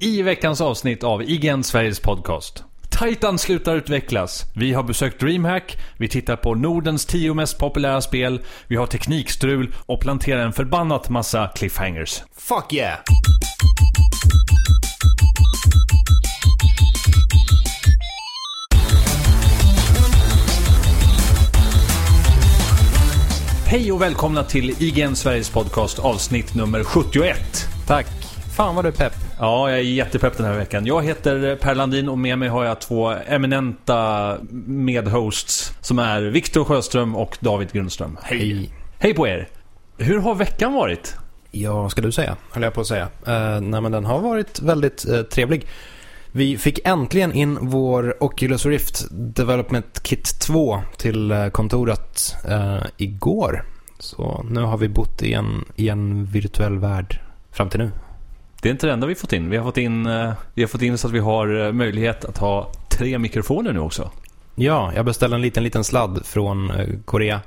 I veckans avsnitt av IGN Sveriges podcast. Titan slutar utvecklas. Vi har besökt DreamHack, vi tittar på Nordens tio mest populära spel, vi har teknikstrul och planterar en förbannat massa cliffhangers. Fuck yeah! Hej och välkomna till IGN Sveriges podcast avsnitt nummer 71. Tack. Fan vad du är pepp. Ja, jag är jättepepp den här veckan. Jag heter Per Landin och med mig har jag två eminenta medhosts som är Viktor Sjöström och David Grundström. Hej. Hej på er! Hur har veckan varit? Ja, vad ska du säga? Höll jag på att säga. Eh, nej, men den har varit väldigt eh, trevlig. Vi fick äntligen in vår Oculus Rift Development Kit 2 till eh, kontoret eh, igår. Så nu har vi bott i en, i en virtuell värld fram till nu. Det är inte det enda vi fått in. Vi har fått in, eh, vi har fått in så att vi har eh, möjlighet att ha tre mikrofoner nu också. Ja, jag beställde en liten, liten sladd från eh, Korea.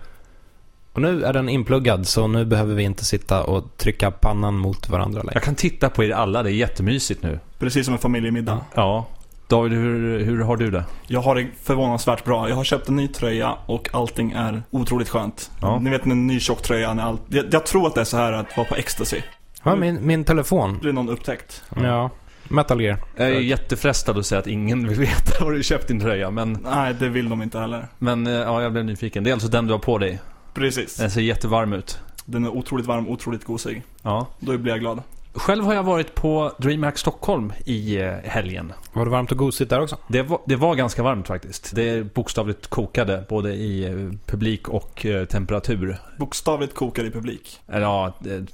Och nu är den inpluggad så nu behöver vi inte sitta och trycka pannan mot varandra längre. Jag kan titta på er alla, det är jättemysigt nu. Precis som en familjemiddag. Ja. David, hur, hur har du det? Jag har det förvånansvärt bra. Jag har köpt en ny tröja och allting är otroligt skönt. Ja. Ni vet en ny tjock tröja när allt... Jag, jag tror att det är så här att vara på ecstasy. Ja, min, min telefon. Det blir någon upptäckt. Ja, Metal Gear. Jag är jättefrestad att säga att ingen vill veta var du köpt din tröja, men, Nej, det vill de inte heller. men eh, ja, jag blev nyfiken. Det är alltså den du har på dig. Precis. Den ser jättevarm ut. Den är otroligt varm, otroligt gosig. Ja. Då blir jag glad. Själv har jag varit på DreamHack Stockholm i eh, helgen. Var det varmt och gosigt där också? Det var, det var ganska varmt faktiskt. Det bokstavligt kokade både i eh, publik och eh, temperatur. Bokstavligt kokar i publik. Eller ja,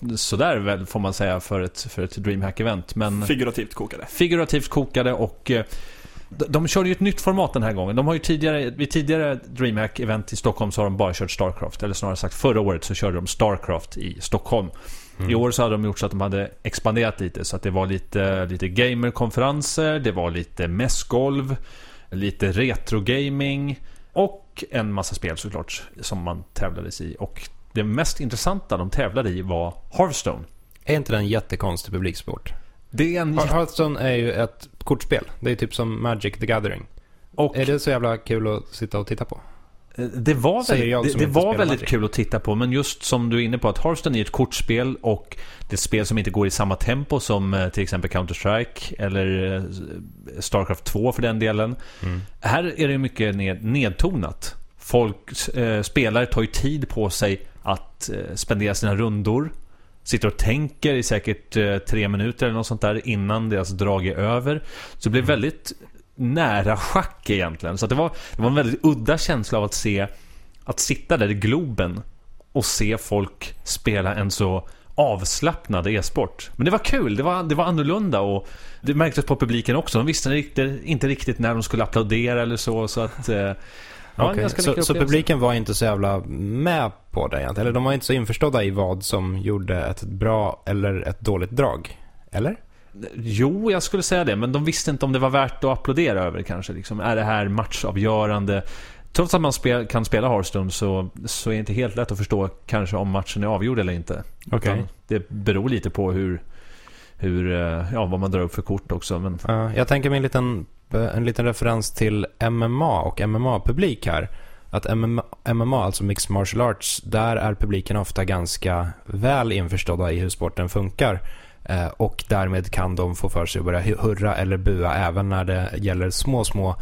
eh, sådär väl får man säga för ett, för ett DreamHack-event. Men Figurativt kokade. figurativt kokade och eh, de- de körde ju ett nytt format den här gången. De har ju tidigare, vid tidigare DreamHack-event i Stockholm så har de bara kört Starcraft. Eller snarare sagt förra året så körde de Starcraft i Stockholm. I år så hade de gjort så att de hade expanderat lite. Så att det var lite, lite gamerkonferenser, det var lite mässgolv, lite retrogaming och en massa spel såklart som man tävlades i. Och det mest intressanta de tävlade i var Hearthstone. Är inte den en jättekonstig publiksport? Det är en... Har- Hearthstone är ju ett kortspel. Det är typ som Magic the Gathering. Och Är det så jävla kul att sitta och titta på? Det var Säger väldigt, jag det, som det inte var spelar väldigt Magic. kul att titta på, men just som du är inne på att Hearthstone är ett kortspel och det är ett spel som inte går i samma tempo som eh, till exempel Counter-Strike eller eh, Starcraft 2 för den delen. Mm. Här är det mycket ned, nedtonat. Folk, eh, spelare tar ju tid på sig att eh, spendera sina rundor. Sitter och tänker i säkert eh, tre minuter eller något sånt där innan deras drag är över. Så det Mm. blir väldigt nära schack egentligen. Så att det, var, det var en väldigt udda känsla av att se att sitta där i Globen och se folk spela en så avslappnad e-sport. Men det var kul, det var, det var annorlunda och det märktes på publiken också. De visste inte- inte riktigt när de skulle applådera eller så. Så att... Eh, ja, en Okej, ganska Så, lyckad så upplevelse. publiken var inte så jävla med på det egentligen? Eller de var inte så införstådda i vad som gjorde ett bra eller ett dåligt drag? Eller? Jo, jag skulle säga det, men de visste inte om det var värt att applådera över kanske. Liksom, är det här matchavgörande? Trots att man spel, kan spela Hearthstone så, så är det inte helt lätt att förstå kanske om matchen är avgjord eller inte. Okej. Utan Det beror lite på hur, hur, eh, ja, vad man drar upp för kort också. Men Ja, jag tänker mig en liten, en liten referens till MMA och MMA-publik här. Att MMA, MMA, alltså Mixed Martial Arts, där är publiken ofta ganska väl införstådda i hur sporten funkar. Eh, Och därmed kan de få för sig att börja hu- hurra eller bua även när det gäller små, små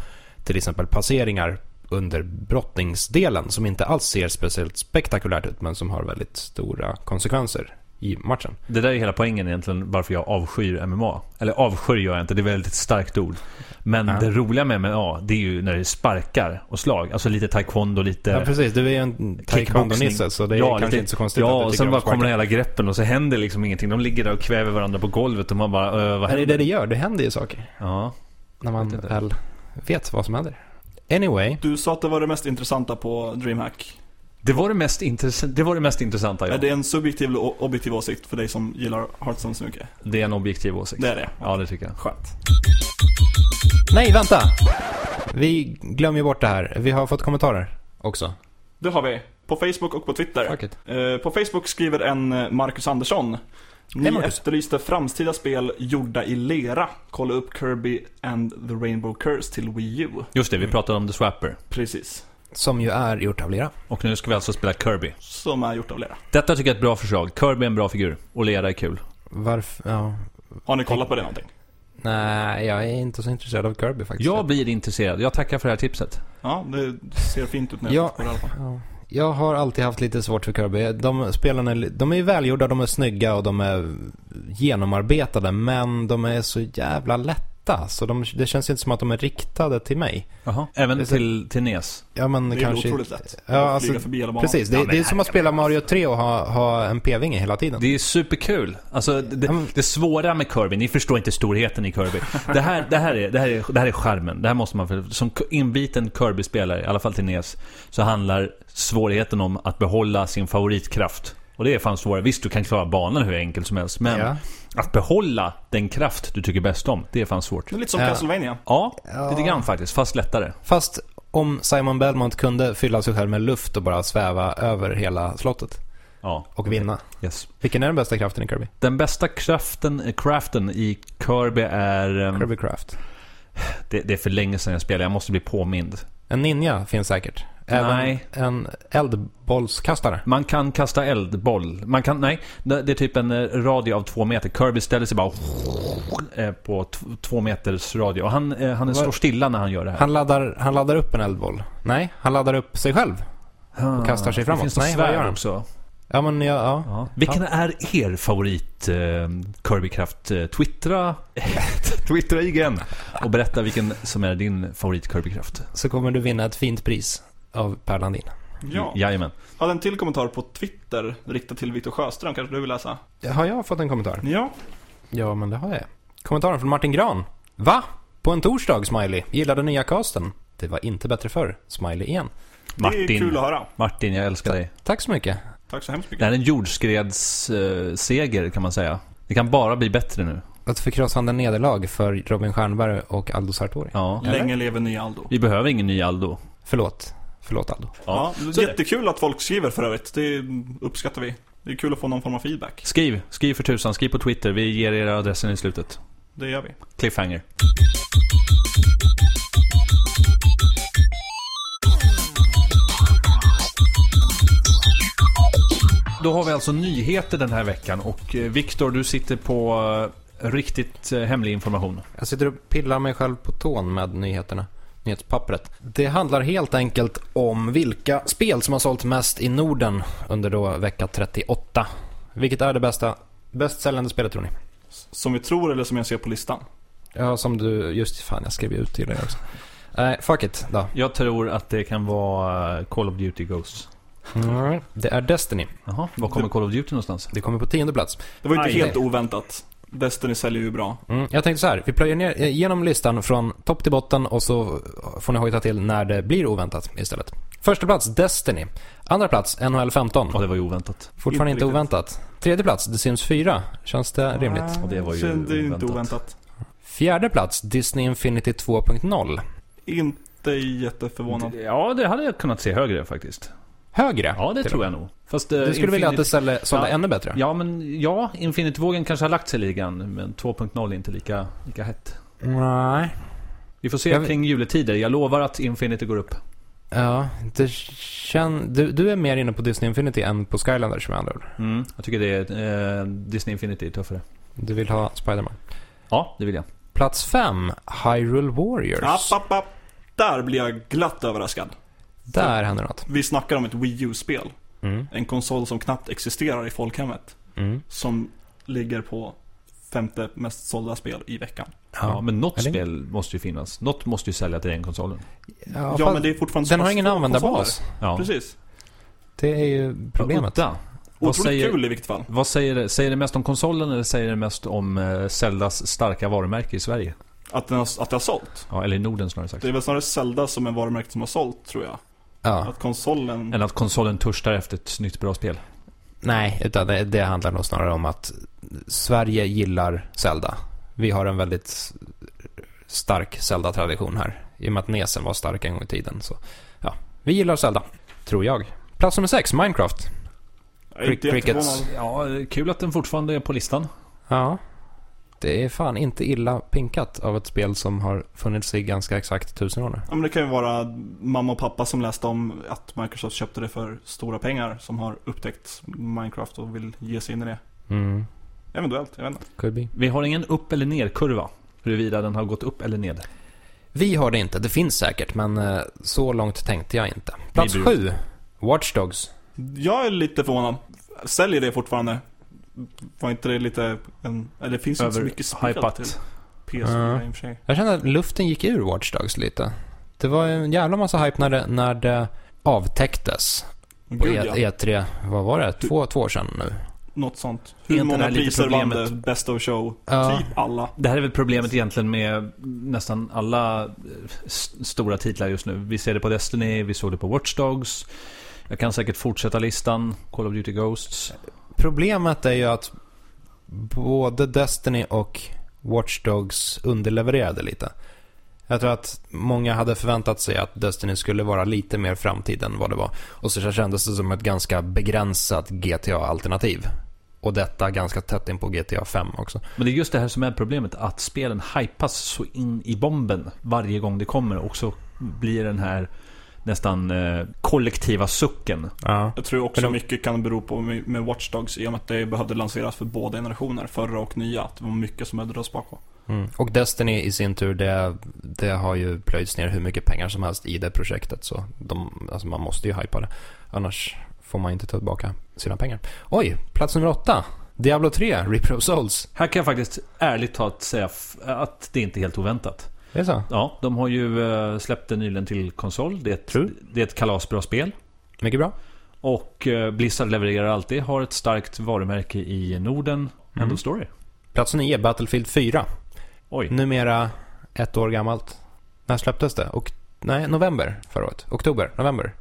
till exempel passeringar under brottningsdelen som inte alls ser speciellt spektakulärt ut men som har väldigt stora konsekvenser i matchen. det där är hela poängen egentligen varför jag avskyr MMA. Eller avskyr gör jag inte, det är väldigt starkt ord. Men Ja. det roliga med MMA, det är ju när det är sparkar och slag. Alltså lite taekwondo, lite... Ja, precis. Du är ju en taekwondo-nisse så det är kanske lite- inte så konstigt Ja, att och du sen tycker bara om kommer sparkar. den hela greppen och så händer liksom ingenting. De ligger där och kväver varandra på golvet och man bara, äh, vad Men det är det händer? det gör. Det händer ju saker. Ja. När man Vet inte. väl vet vad som händer. Anyway. Du sa att det var det mest intressanta på DreamHack. Det var det mest, intress- det var det mest intressanta. Ja. Är det en subjektiv eller o- objektiv åsikt för dig som gillar Hearthstone så mycket? Det är en objektiv åsikt. Det är det. Ja, det tycker jag. Skönt. Nej, vänta! Vi glömmer ju bort det här. Vi har fått kommentarer också. Det har vi. På Facebook och på Twitter. Fuck it. Eh, På Facebook skriver en eh, Marcus Andersson Ni Hej, Marcus. efterlyste framtida spel gjorda i lera. Kolla upp Kirby and the Rainbow Curse till Wii U. Just det, vi Mm. pratade om The Swapper. Precis. Som ju är gjort av lera. Och nu ska vi alltså spela Kirby. Som är gjort av lera. Detta tycker jag är ett bra förslag. Kirby är en bra figur. Och lera är kul. Varför? Ja. Har ni kollat på det någonting? Nej, jag är inte så intresserad av Kirby faktiskt. Jag blir intresserad. Jag tackar för det här tipset. Ja, det ser fint ut nu. Ja. På det i alla fall. Ja. Jag har alltid haft lite svårt för Kirby. De spelarna, är li- de är ju välgjorda, de är snygga och de är genomarbetade. Men de är så jävla lätta. Så de, det känns inte som att de är riktade till mig. Jaha. Även Det är så- till, till NES. Ja, men Det är kanske... ju otroligt lätt. Ja, Att alltså, flyga förbi hela banan. Precis, det, Ja, men det är som att spela Mario 3 och ha, ha en p-vinge hela tiden. Det är superkul. Alltså, det, Ja, men- det svåra med Kirby, ni förstår inte storheten i Kirby. Det här, det här, är, det här, är, det här är charmen. Det här måste man, för- som inbiten Kirby-spelare, i alla fall till NES, så handlar svårigheten om att behålla sin favoritkraft. Och det är fan svårare. Visst, du kan klara banan hur enkelt som helst, men Ja. att behålla den kraft du tycker bäst om, det är fan svårt. Det är lite som Ja. Castlevania. Ja, Ja. lite grann faktiskt, fast lättare. Fast om Simon Belmont kunde fylla sig själv med luft och bara sväva över hela slottet Ja, och vinna. yes. Vilken är den bästa kraften i Kirby? Den bästa kraften, eh, craften i Kirby är... ehm, Kirby Craft. Det, det är för länge sedan jag spelade, jag måste bli påmind. En ninja finns säkert. Även Nej. en eldbollskastare. Man kan kasta eldboll. Man kan, nej, det det är typ en eh, radie av två meter. Kirby ställer sig bara eh, på t- två meters radie. Och han, eh, han Vad- står stilla när han gör det här. Han laddar, han laddar upp en eldboll. Nej, han laddar upp sig själv. Han kastar sig framåt. Ah, Det finns något Nej, vad gör svärd han? också. Ja, men ja. ja. Ja. Vilken är er favorit eh, Kirby-kraft? Eh, Twittra, twittra igen och berätta vilken som är din favorit Kirby-kraft. Så kommer du vinna ett fint pris av Per Landin. Ja. Jajamän. Jag hade en till kommentar på Twitter riktad till Viktor Sjöström. Kanske du vill läsa? Har jag fått en kommentar? Ja. Ja, men det har jag. Kommentaren från Martin Gran. Va? På en torsdag, Smiley. Gillade nya casten. Det var inte bättre förr. Smiley igen. Det är Martin, kul att höra. Martin, jag älskar dig. Tack så mycket. Tack så hemskt Det mycket. här är en jordskredsseger eh, seger, kan man säga. Det kan bara bli bättre nu. Ett förkrossande nederlag för Robin Stjernberg och Aldo Sartori. Ja. Länge lever nya Aldo. Vi behöver ingen ny Aldo. Förlåt. Förlåt, Aldo. Ja, så är det. jättekul att folk skriver för övrigt. Det uppskattar vi. Det är kul att få någon form av feedback. Skriv, skriv för tusan, skriv på Twitter. Vi ger er adressen i slutet. Det gör vi. Cliffhanger. Då har vi alltså nyheter den här veckan och eh, Viktor, du sitter på eh, riktigt eh, hemlig information. Jag sitter och pillar mig själv på tån med nyheterna. Nyhetspappret. Det handlar helt enkelt om vilka spel som har sålt mest i Norden under då vecka 38. Vilket är det bästa, bäst säljande spelet tror ni? S- Som vi tror eller som jag ser på listan. Ja, som du, just fan jag skrev ju ut till dig också. Nej, fuck it då. Jag tror att det kan vara eh, Call of Duty Ghosts. Det är Destiny. Jaha, var kommer Call of Duty någonstans? Det kommer på tionde plats. Det var ju inte Aj. helt oväntat. Destiny säljer ju bra. Mm, jag tänkte så här, vi plöjer ner eh, genom listan från topp till botten och så får ni hojta till när det blir oväntat istället. Första plats Destiny. Andra plats NHL 15. Ja, det var ju oväntat. Fortfarande Inte inte, riktigt. oväntat. Tredje plats, The Sims 4. Känns det rimligt? Och det var ju Så det är inte oväntat. oväntat. Fjärde plats, Disney Infinity 2.0. Inte jätteförvånad. Ja, det hade jag kunnat se högre faktiskt. Högre. Ja, det till tror och jag nog. Fast, eh, med. Du skulle vilja att det sålde, sålde Ja. ännu bättre? Ja, men ja, Infinity-vågen kanske har lagt sig lite grann, men 2.0 är inte lika, lika hett. Nej. Vi får se Jag vet- kring juletider. Jag lovar att Infinity går upp. Ja, det kän... du, du är mer inne på Disney Infinity än på Skylanders med andra ord. Mm. Jag tycker det är, eh, Disney Infinity är tuffare. Du vill ha Spiderman. Ja, det vill jag. Plats fem, Hyrule Warriors. App, app, app. Där blir jag glatt överraskad. Där händer något. Vi snackar om ett Wii U-spel. Mm. En konsol som knappt existerar i folkhemmet. Mm. Som ligger på femte mest sålda spel i veckan. Ja, men något Eller- spel måste ju finnas. Något måste ju sälja till den konsolen. Ja, Ja, fast men det är fortfarande så Den har pass ingen få användarbas. konsoler. Ja. Precis. Det är ju problemet. Udda. Vad Otroligt säger- kul i vilket fall. Vad säger det? Säger det mest om konsolen eller säger det mest om eh, Zeldas starka varumärke i Sverige? Att, den har, att det har sålt. Ja, eller i Norden snarare sagt. Det är väl snarare Zelda som är varumärket som har sålt, tror jag. Ja. Att konsolen... Än att konsolen törstar efter ett nytt bra spel. Nej, utan det, det handlar nog snarare om att Sverige gillar Zelda. Vi har en väldigt stark Zelda-tradition här. I och med att Nesen var stark en gång i tiden. Så, ja, vi gillar Zelda, tror jag. Plats nummer sex, Minecraft. Jag är inte Crickets. jätteförvånad. Ja, kul att den fortfarande är på listan. Ja. Det är fan inte illa pinkat av ett spel som har funnits i ganska exakt tusen år nu. Ja, men det kan ju vara mamma och pappa som läste om att Microsoft köpte det för stora pengar som har upptäckt Minecraft och vill ge sig in i det. Mm. Eventuellt, jag vet inte. Could be. Vi har ingen upp eller nerkurva. Huruvida den har gått upp eller ned. Vi har det inte, det finns säkert, men eh, så långt tänkte jag inte. Plats bryr sju, Watch Dogs. Jag är lite förvånad. Säljer det fortfarande? Var inte det lite en... Eller det finns inte så mycket spel till Överhypat. PS4 Ja. i och för sig. Jag kände att luften gick ur Watch Dogs lite. Det var en jävla massa hype när det, när det avtäcktes på Gud, E- ja. E3, vad var det, två, två år sedan nu? Något sånt. Är Hur inte det många här lite priser vann det? problemet? Best of show? Ja. Typ alla. Det här är väl problemet egentligen med nästan alla eh, s- stora titlar just nu. Vi ser det på Destiny, vi såg det på Watch Dogs. Jag kan säkert fortsätta listan. Call of Duty Ghosts. Problemet är ju att både Destiny och Watch Dogs underlevererade lite. Jag tror att många hade förväntat sig att Destiny skulle vara lite mer framtid än vad det var. Och så kändes det som ett ganska begränsat GTA-alternativ. Och detta ganska tätt in på GTA 5 också. Men det är just det här som är problemet. Att spelen hypas så in i bomben varje gång det kommer. Och så blir den här nästan eh, kollektiva sucken. Ja. Jag tror också Men de- mycket kan bero på med med Watch Dogs i och med att det behövde lanseras för båda generationer, förra och nya. Att det var mycket som behövde dras bakom. Mm. Och Destiny i sin tur, det, det har ju plöjts ner hur mycket pengar som helst i det projektet. Så de, alltså man måste ju hypa det. Annars får man inte ta tillbaka sina pengar. Oj, plats nummer åtta. Diablo 3, Reaper of Souls. Här kan jag faktiskt ärligt talat säga f- att det inte är helt oväntat. Är det så? Ja, de har ju eh, släppt det nyligen till konsol. Det är True. ett, det är ett kalasbra spel. Mycket bra. Och eh, Blizzard levererar alltid. Har ett starkt varumärke i Norden. End Mm. of story. Plats nio, Battlefield 4. Oj. Numera ett år gammalt. När släpptes det? Och, nej, november förra året. Oktober, november.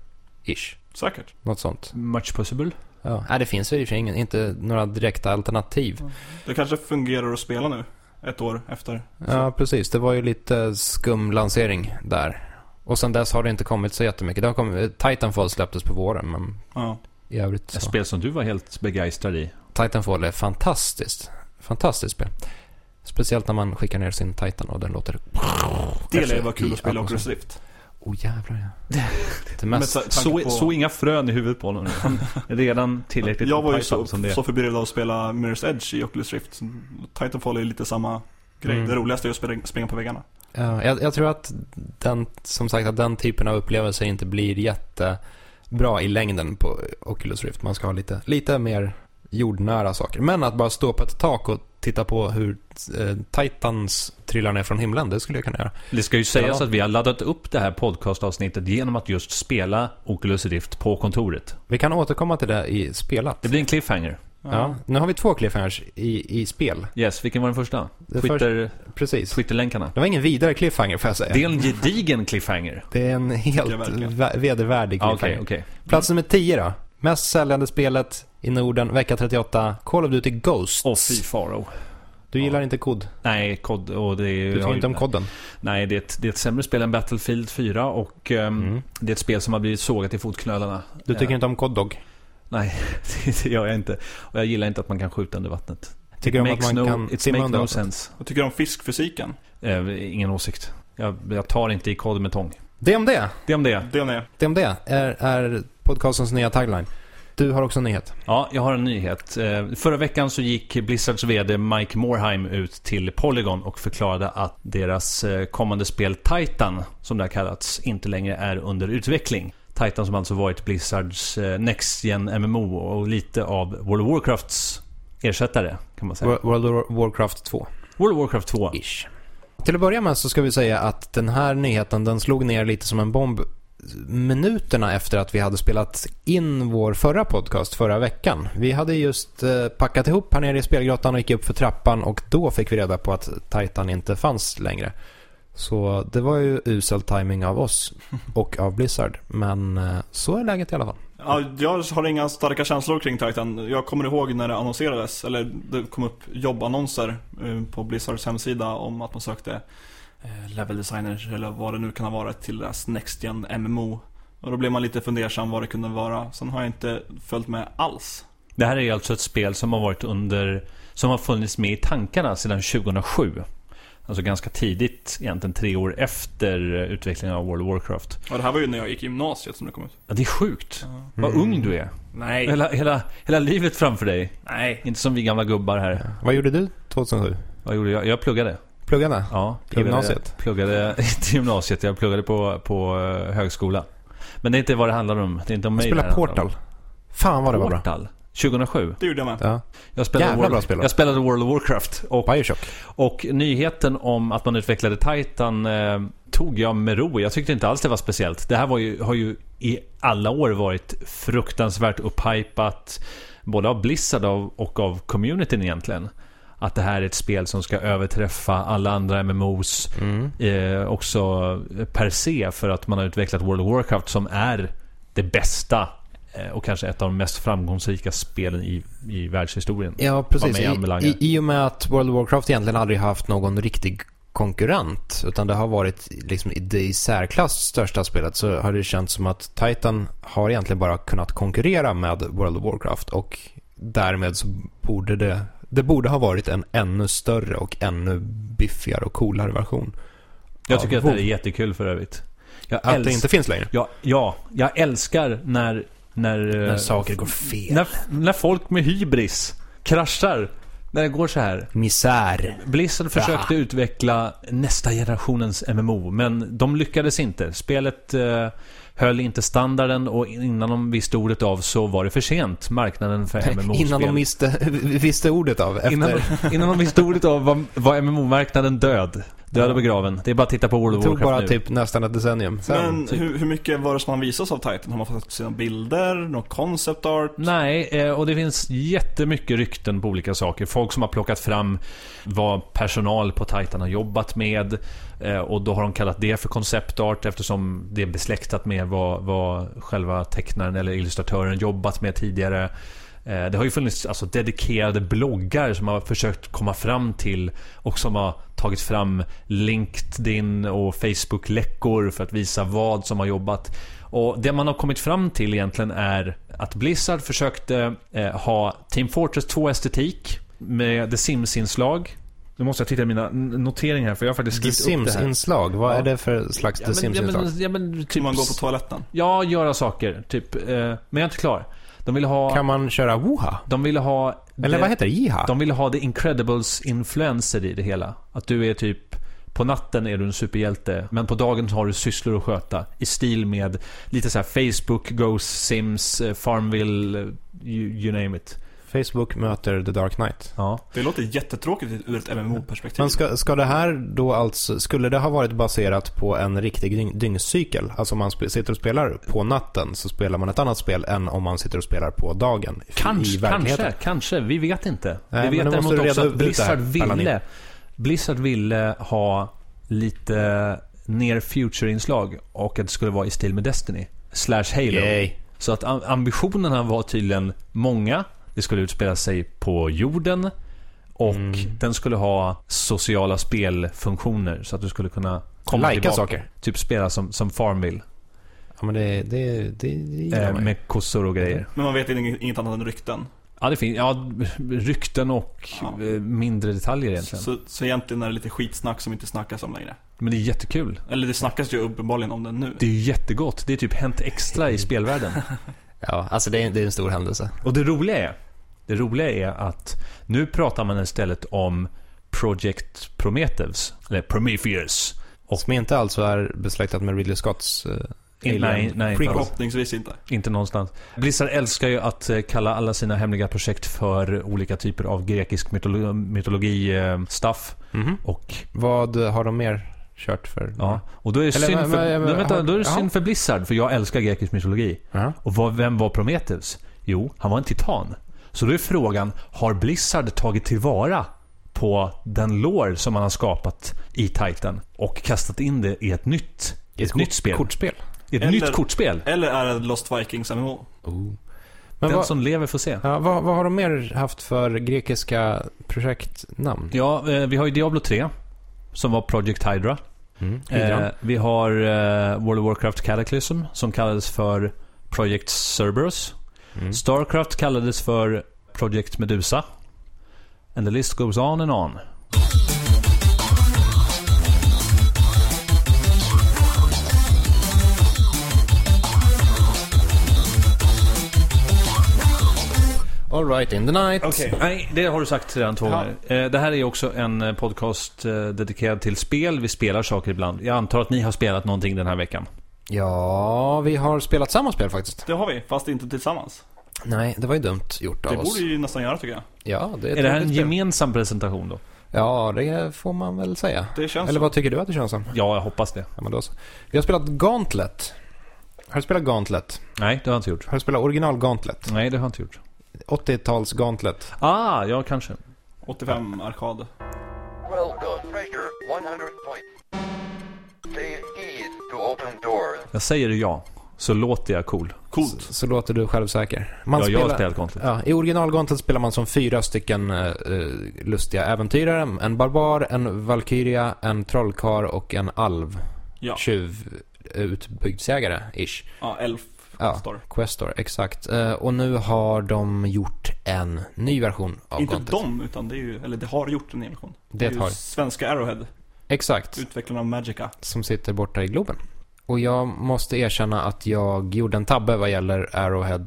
Ish. Säkert. Något sånt. Much possible. Ja. Nej, det finns ju i och för sig ingen- inte några direkta alternativ. Det kanske fungerar att spela nu. Ett år efter. Ja, precis. Det var ju lite skum lansering där. Och sen dess har det inte kommit så jättemycket. Det har kommit, Titanfall släpptes på våren, men Ja. i övrigt Ett så. spel som du var helt begeistrad i. Titanfall är fantastiskt. Fantastiskt spel. Speciellt när man skickar ner sin Titan och den låter... Det lär ju Kanske vara kul i att spela Atmos. Oculus Rift. Åh oh, jävlar ja. Det är Men mest... ta- tanke Så, på- så inga frön i huvudet på honom nu. Han är redan tillräckligt Jag var ju hypad så, som det är. så förbryllad av att spela Mirror's Edge i Oculus Rift. Titanfall är ju lite samma grej. Mm. Det roligaste är att springa, springa på väggarna. Ja, jag, jag tror att den, som sagt, att den typen av upplevelse inte blir jättebra i längden på Oculus Rift. Man ska ha lite, lite mer jordnära saker. Men att bara stå på ett tak och titta på hur eh, Titans trillar ner från himlen, det skulle jag kunna göra. Det ska ju sägas Ja. att vi har laddat upp det här podcastavsnittet genom att just spela Oculus Rift på kontoret. Vi kan återkomma till det i spelat. Det blir en cliffhanger. ja, nu har vi två cliffhangers i, i spel. Yes, vilken var den första? Det Twitter, Precis. Twitterlänkarna. Det var ingen vidare cliffhanger får jag säga. Det är en gedigen cliffhanger. Det är en helt jag verkligen. vä- vedervärdig Ja, cliffhanger. Okej, okej. Plats nummer 10 då. Mest säljande spelet i Norden, vecka 38, Call of Duty Ghosts. Åh, fy faro. Du gillar inte kod. Nej, kod och det är ju... Du tycker inte om kodden. Nej, det är, ett, det är ett sämre spel än Battlefield 4 och ehm, Mm. det är ett spel som har blivit sågat i fotknölarna. Du tycker Eh, inte om Coddog. Nej, det gör jag inte. Och jag gillar inte att man kan skjuta under vattnet. Tycker du om att Makes man no, kan it's simma make under no vattnet? sense. Vad tycker du om fiskfysiken? Eh, ingen åsikt. Jag, jag tar inte i kod med tång. Det om det. Det om det. Det är Det om det är, är podcastens nya tagline. Du har också en nyhet. Ja, jag har en nyhet. Eh, Förra veckan så gick Blizzards VD Mike Morheim ut till Polygon och förklarade att deras eh, kommande spel Titan, som det har kallats, inte längre är under utveckling. Titan som alltså varit Blizzards eh, Next Gen MMO och lite av World of Warcrafts ersättare kan man säga. Wo- World of Warcraft 2. World of Warcraft 2. Ish. Till att börja med så ska vi säga att den här nyheten den slog ner lite som en bomb minuterna efter att vi hade spelat in vår förra podcast förra veckan. Vi hade just eh, packat ihop här nere i spelgrottan och gick upp för trappan och då fick vi reda på att Titan inte fanns längre. Så det var ju usel timing av oss och av Blizzard. Men eh, så är läget i alla fall. Ja, jag har inga starka känslor kring Titan. Jag kommer ihåg när det annonserades, eller det kom upp jobbannonser eh, på Blizzards hemsida om att man sökte eh, level designers eller vad det nu kan ha varit till deras Next Gen MMO. Och då blev man lite fundersam vad det kunde vara. Sen har jag inte följt med alls. Det här är alltså ett spel som har varit under, som har funnits med i tankarna sedan 2007. Alltså ganska tidigt, egentligen tre år efter eh, utvecklingen av World of Warcraft. Ja, det här var ju när jag gick i gymnasiet som det kom ut. Ja, det är sjukt. Ja. Vad Mm. ung du är. Nej, Hela, hela, hela livet framför dig. nej. Inte som vi gamla gubbar här. Vad gjorde du 2007? Vad gjorde jag? Jag pluggade. Pluggarna? Ja, Till gymnasiet? Jag pluggade till gymnasiet. Jag pluggade på, på eh, högskola. Men det är inte vad det handlar om. Det är inte om mig det Spela här handlar om. Portal. Fan vad det var bra. Portal. 2007. Det gjorde jag med. Ja. Jag spelade, Jävla bra spel. World, jag spelade World of Warcraft. Och, Bioshock. och nyheten om att man utvecklade Titan eh, tog jag med ro. Jag tyckte inte alls det var speciellt. Det här var ju, har ju i alla år varit fruktansvärt upphypat. Både av Blizzard av- och av communityn egentligen. Att det här är ett spel som ska överträffa alla andra MMOs Mm. eh, också per se för att man har utvecklat World of Warcraft som är det bästa eh, och kanske ett av de mest framgångsrika spelen i, i världshistorien. Ja, precis. mig I, anbelangar. i, I och med att World of Warcraft egentligen aldrig haft någon riktig konkurrent, utan det har varit liksom i det i särklass största spelet, så har det känts som att Titan har egentligen bara kunnat konkurrera med World of Warcraft och därmed så borde det, det borde ha varit en ännu större och ännu biffigare och coolare version. Jag tycker Ja, att det här är wow. jättekul för övrigt. Jag Att det älsk- inte finns längre. ja, ja, jag älskar när... När, eh, När saker går fel. när, när folk med hybris kraschar. När det går så här. Misär. Blizzard försökte utveckla nästa generationens MMO, men de lyckades inte. Spelet eh, höll inte standarden och innan de visste ordet av så var det för sent. Marknaden för MMO-spel. Innan de visste, visste ordet av. Efter, Eh, innan, innan de visste ordet av var, var MMO-marknaden död. Död Ja. och begraven. Det är bara att titta på World det of tog Warcraft bara nu. typ nästan ett decennium. Sen. Men typ. hur, hur mycket var det som man visas av Titan? Har man fått sina bilder? Någon concept art? Nej, eh, och det finns jättemycket rykten på olika saker. Folk som har plockat fram vad personal på Titan har jobbat med. eh, Och då har de kallat det för konceptart eftersom det är besläktat med vad, vad själva tecknaren eller illustratören jobbat med tidigare. Eh, Det har ju funnits alltså, dedikerade bloggar som har försökt komma fram till och som har tagit fram LinkedIn och Facebook-läckor för att visa vad som har jobbat. Och Det man har kommit fram till egentligen är att Blizzard försökte eh, ha Team Fortress 2-estetik med The Sims-inslag. Nu måste jag titta i mina n- noteringar här för jag har faktiskt The skrivit upp det här. Sims-inslag, vad Ja. är det för slags Ja, The men- ja, men- Sims-inslag? ja, men Typ... typ- Man går på toaletten? Ja, göra saker. Typ. eh, Men jag är inte klar. De ville ha... Kan man köra Woha? De ville ha... Eller det- vad heter det? Jiha? de ville ha The Incredibles influencer i det hela. Att du är typ, på natten är du en superhjälte, men på dagen har du sysslor att sköta. I stil med lite så här Facebook, Ghost, Sims, eh, Farmville, eh, you, you name it. Facebook möter The Dark Knight. Ja. Det låter jättetråkigt ur ett MMO-perspektiv. Men ska, ska det här då alltså, skulle det ha varit baserat på en riktig dyng, dyngcykel? Alltså om man sp- sitter och spelar på natten så spelar man ett annat spel än om man sitter och spelar på dagen. i- i Kanske, verkligheten. kanske, kanske. Vi vet inte. Nej, men vi då vet måste däremot du också reda att ut det här, Blizzard Allan. ville, Blizzard ville ha lite near future-inslag och att det skulle vara i stil med Destiny. Slash Halo. Yay. Så att am- ambitionerna var tydligen många. Det skulle utspela sig på jorden. Och Mm. den skulle ha sociala spelfunktioner. Så att du skulle kunna komma Lajka tillbaka. saker. Typ spela som, som Farmville. Ja men det, det, det, det gillar Eh, man ju. Mm. med kossor och grejer. Men man vet inget, inget annat än rykten. Ja, det finns ja, rykten och Ja. eh, mindre detaljer egentligen. Så, så egentligen är det lite skitsnack som inte snackas om längre. Men det är jättekul. Eller det snackas ju uppenbarligen om det nu. Det är ju jättegott. Det är typ hänt extra i spelvärlden. Ja, alltså det är, det är en stor händelse. Och det roliga är, det roliga är att nu pratar man istället om Project Prometheus, eller Prometheus. Och- Som inte alltså är besläktat med Ridley Scotts... eh, Nej, Alien nej, inte prequel. alls. Förhoppningsvis inte. Inte någonstans. Blizzard älskar ju att eh, kalla alla sina hemliga projekt för olika typer av grekisk mytolo- mytologi-stuff. Mhm. Och, Vad har de mer kört för? ja. och då är det Eller, synd men- för, men- nej, vänta, har- då är det ja. synd för Blizzard, för jag älskar grekisk mytologi. Ja. Och vad, vem var Prometheus? Jo, han var en titan. Så då är frågan, har Blizzard tagit tillvara på den lore som man har skapat i Titan och kastat in det i ett nytt, I ett nytt spel? Kortspel. I ett Eller- nytt kortspel? Eller är det Lost Vikings MMO? Oh. Men den vad, som lever får se. ja, vad, vad har de mer haft för grekiska projektnamn? Ja, eh, vi har ju Diablo 3 som var Project Hydra. Mm. Eh, vi har eh, World of Warcraft Cataclysm som kallades för Project Cerberus. Mm. Starcraft kallades för Project Medusa. And the list goes on and on. All right in the night. Okej. Nej, det har du sagt redan två Ja. gånger. Eh, Det här är också en eh, podcast eh, dedikerad till spel. Vi spelar saker ibland. Jag antar att ni har spelat någonting den här veckan. Ja, vi har spelat samma spel faktiskt. Det har vi, fast inte tillsammans. Nej, det var ju dumt gjort av Det oss. borde ju nästan göra tycker jag. Ja, det är, Är, ett det här en roligt spel. gemensam presentation då? Ja, det får man väl säga. Det känns Eller så. vad tycker du att det känns som? Ja, jag hoppas det. Ja, men då så. Vi har spelat Gauntlet. Har du spelat Gauntlet? Nej, det har jag inte gjort. Har du spelat original Gauntlet? Nej, det har jag inte gjort. 80-tals Gauntlet. Ah, ja kanske. 85 arkad. Well done, Ranger. 100 points. Save E to open doors. Jag säger ja, så låter jag cool. Coolt. Så låter du självsäker. Man ja, jag har spelar- spelat Gauntlet. Ja, I original Gauntlet spelar man som fyra stycken eh, eh, lustiga äventyrare. En barbar, en valkyria, en trollkar och en alv. Ja, Tjuv utbygdsjägare, ish. ja elf Ja. står. Questor, exakt. Eh, och nu har de gjort en ny version av Inte Gauntlet. de, utan det är ju, eller det har gjort en version. Det ju har. svenska Arrowhead, Exakt. utvecklarna av Magica. som sitter borta i Globen. Och jag måste erkänna att jag gjorde en tabbe vad gäller Arrowhead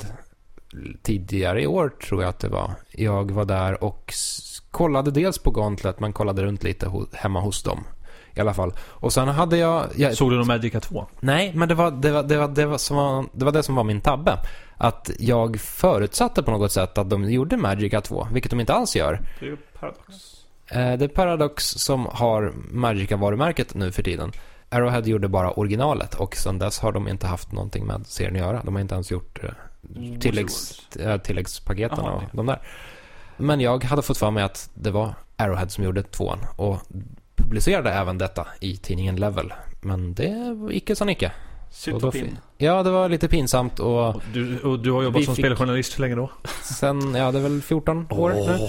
tidigare i år tror jag att det var. Jag var där och s- kollade dels på Gauntlet men kollade runt lite ho- hemma hos dem. I alla fall. Och sen hade jag... jag Såg du någon Magica 2? nej, men det var det, var, det, var, det, var som var, det var det som var min tabbe. Att jag förutsatte på något sätt att de gjorde Magica 2, vilket de inte alls gör. Det är ju Paradox. Eh, Det är Paradox som har Magica-varumärket nu för tiden. Arrowhead gjorde bara originalet och sedan dess har de inte haft någonting med serien att göra. De har inte ens gjort eh, tilläggs, eh, tilläggspaketen Jaha, och nej. de där. Men jag hade fått för mig att det var Arrowhead som gjorde tvåan och publicerade även detta i tidningen Level. Men det var icke som icke. Och då Cytopin. fin- Ja, det var lite pinsamt och Och du, och du har jobbat Vi som fick- speljournalist hur länge då? sen, ja det är väl 14 år nu.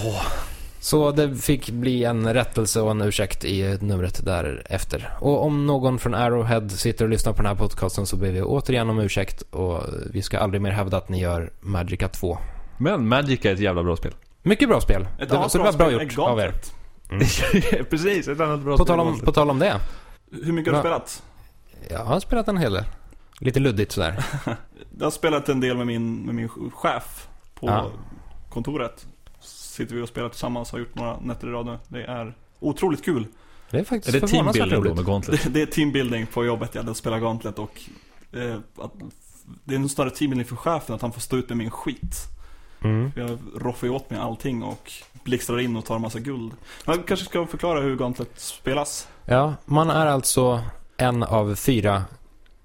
Så det fick bli en rättelse och en ursäkt i numret därefter. Och om någon från Arrowhead sitter och lyssnar på den här podcasten så ber vi återigen om ursäkt och vi ska aldrig mer hävda att ni gör Magica 2. Men Magica är ett jävla bra spel. Mycket bra spel. Ett det, annat så det var bra bra spel är gjort av er. Gauntlet. Precis, ett annat bra På tal, om, på tal om det. Hur mycket har du Ja. spelat? Jag har spelat en hel del. Lite luddigt sådär. Jag har spelat en del med min, med min chef på Ja. kontoret. Sitter vi och spelar tillsammans och har gjort några nätter i rad nu. Det är otroligt kul. Det är Är faktiskt det förvånansvärt teambuilding då roligt. med Gauntlet? Det, det är teambuilding på jobbet, jag hade spelat Gauntlet och eh, att, Det är nog snarare teambuilding för chefen att han får stå ut med min skit. Mm. Jag roffar ju åt mig allting och blixtrar in och tar en massa guld. Man kanske ska förklara hur Gauntlet spelas. Ja, man är alltså en av fyra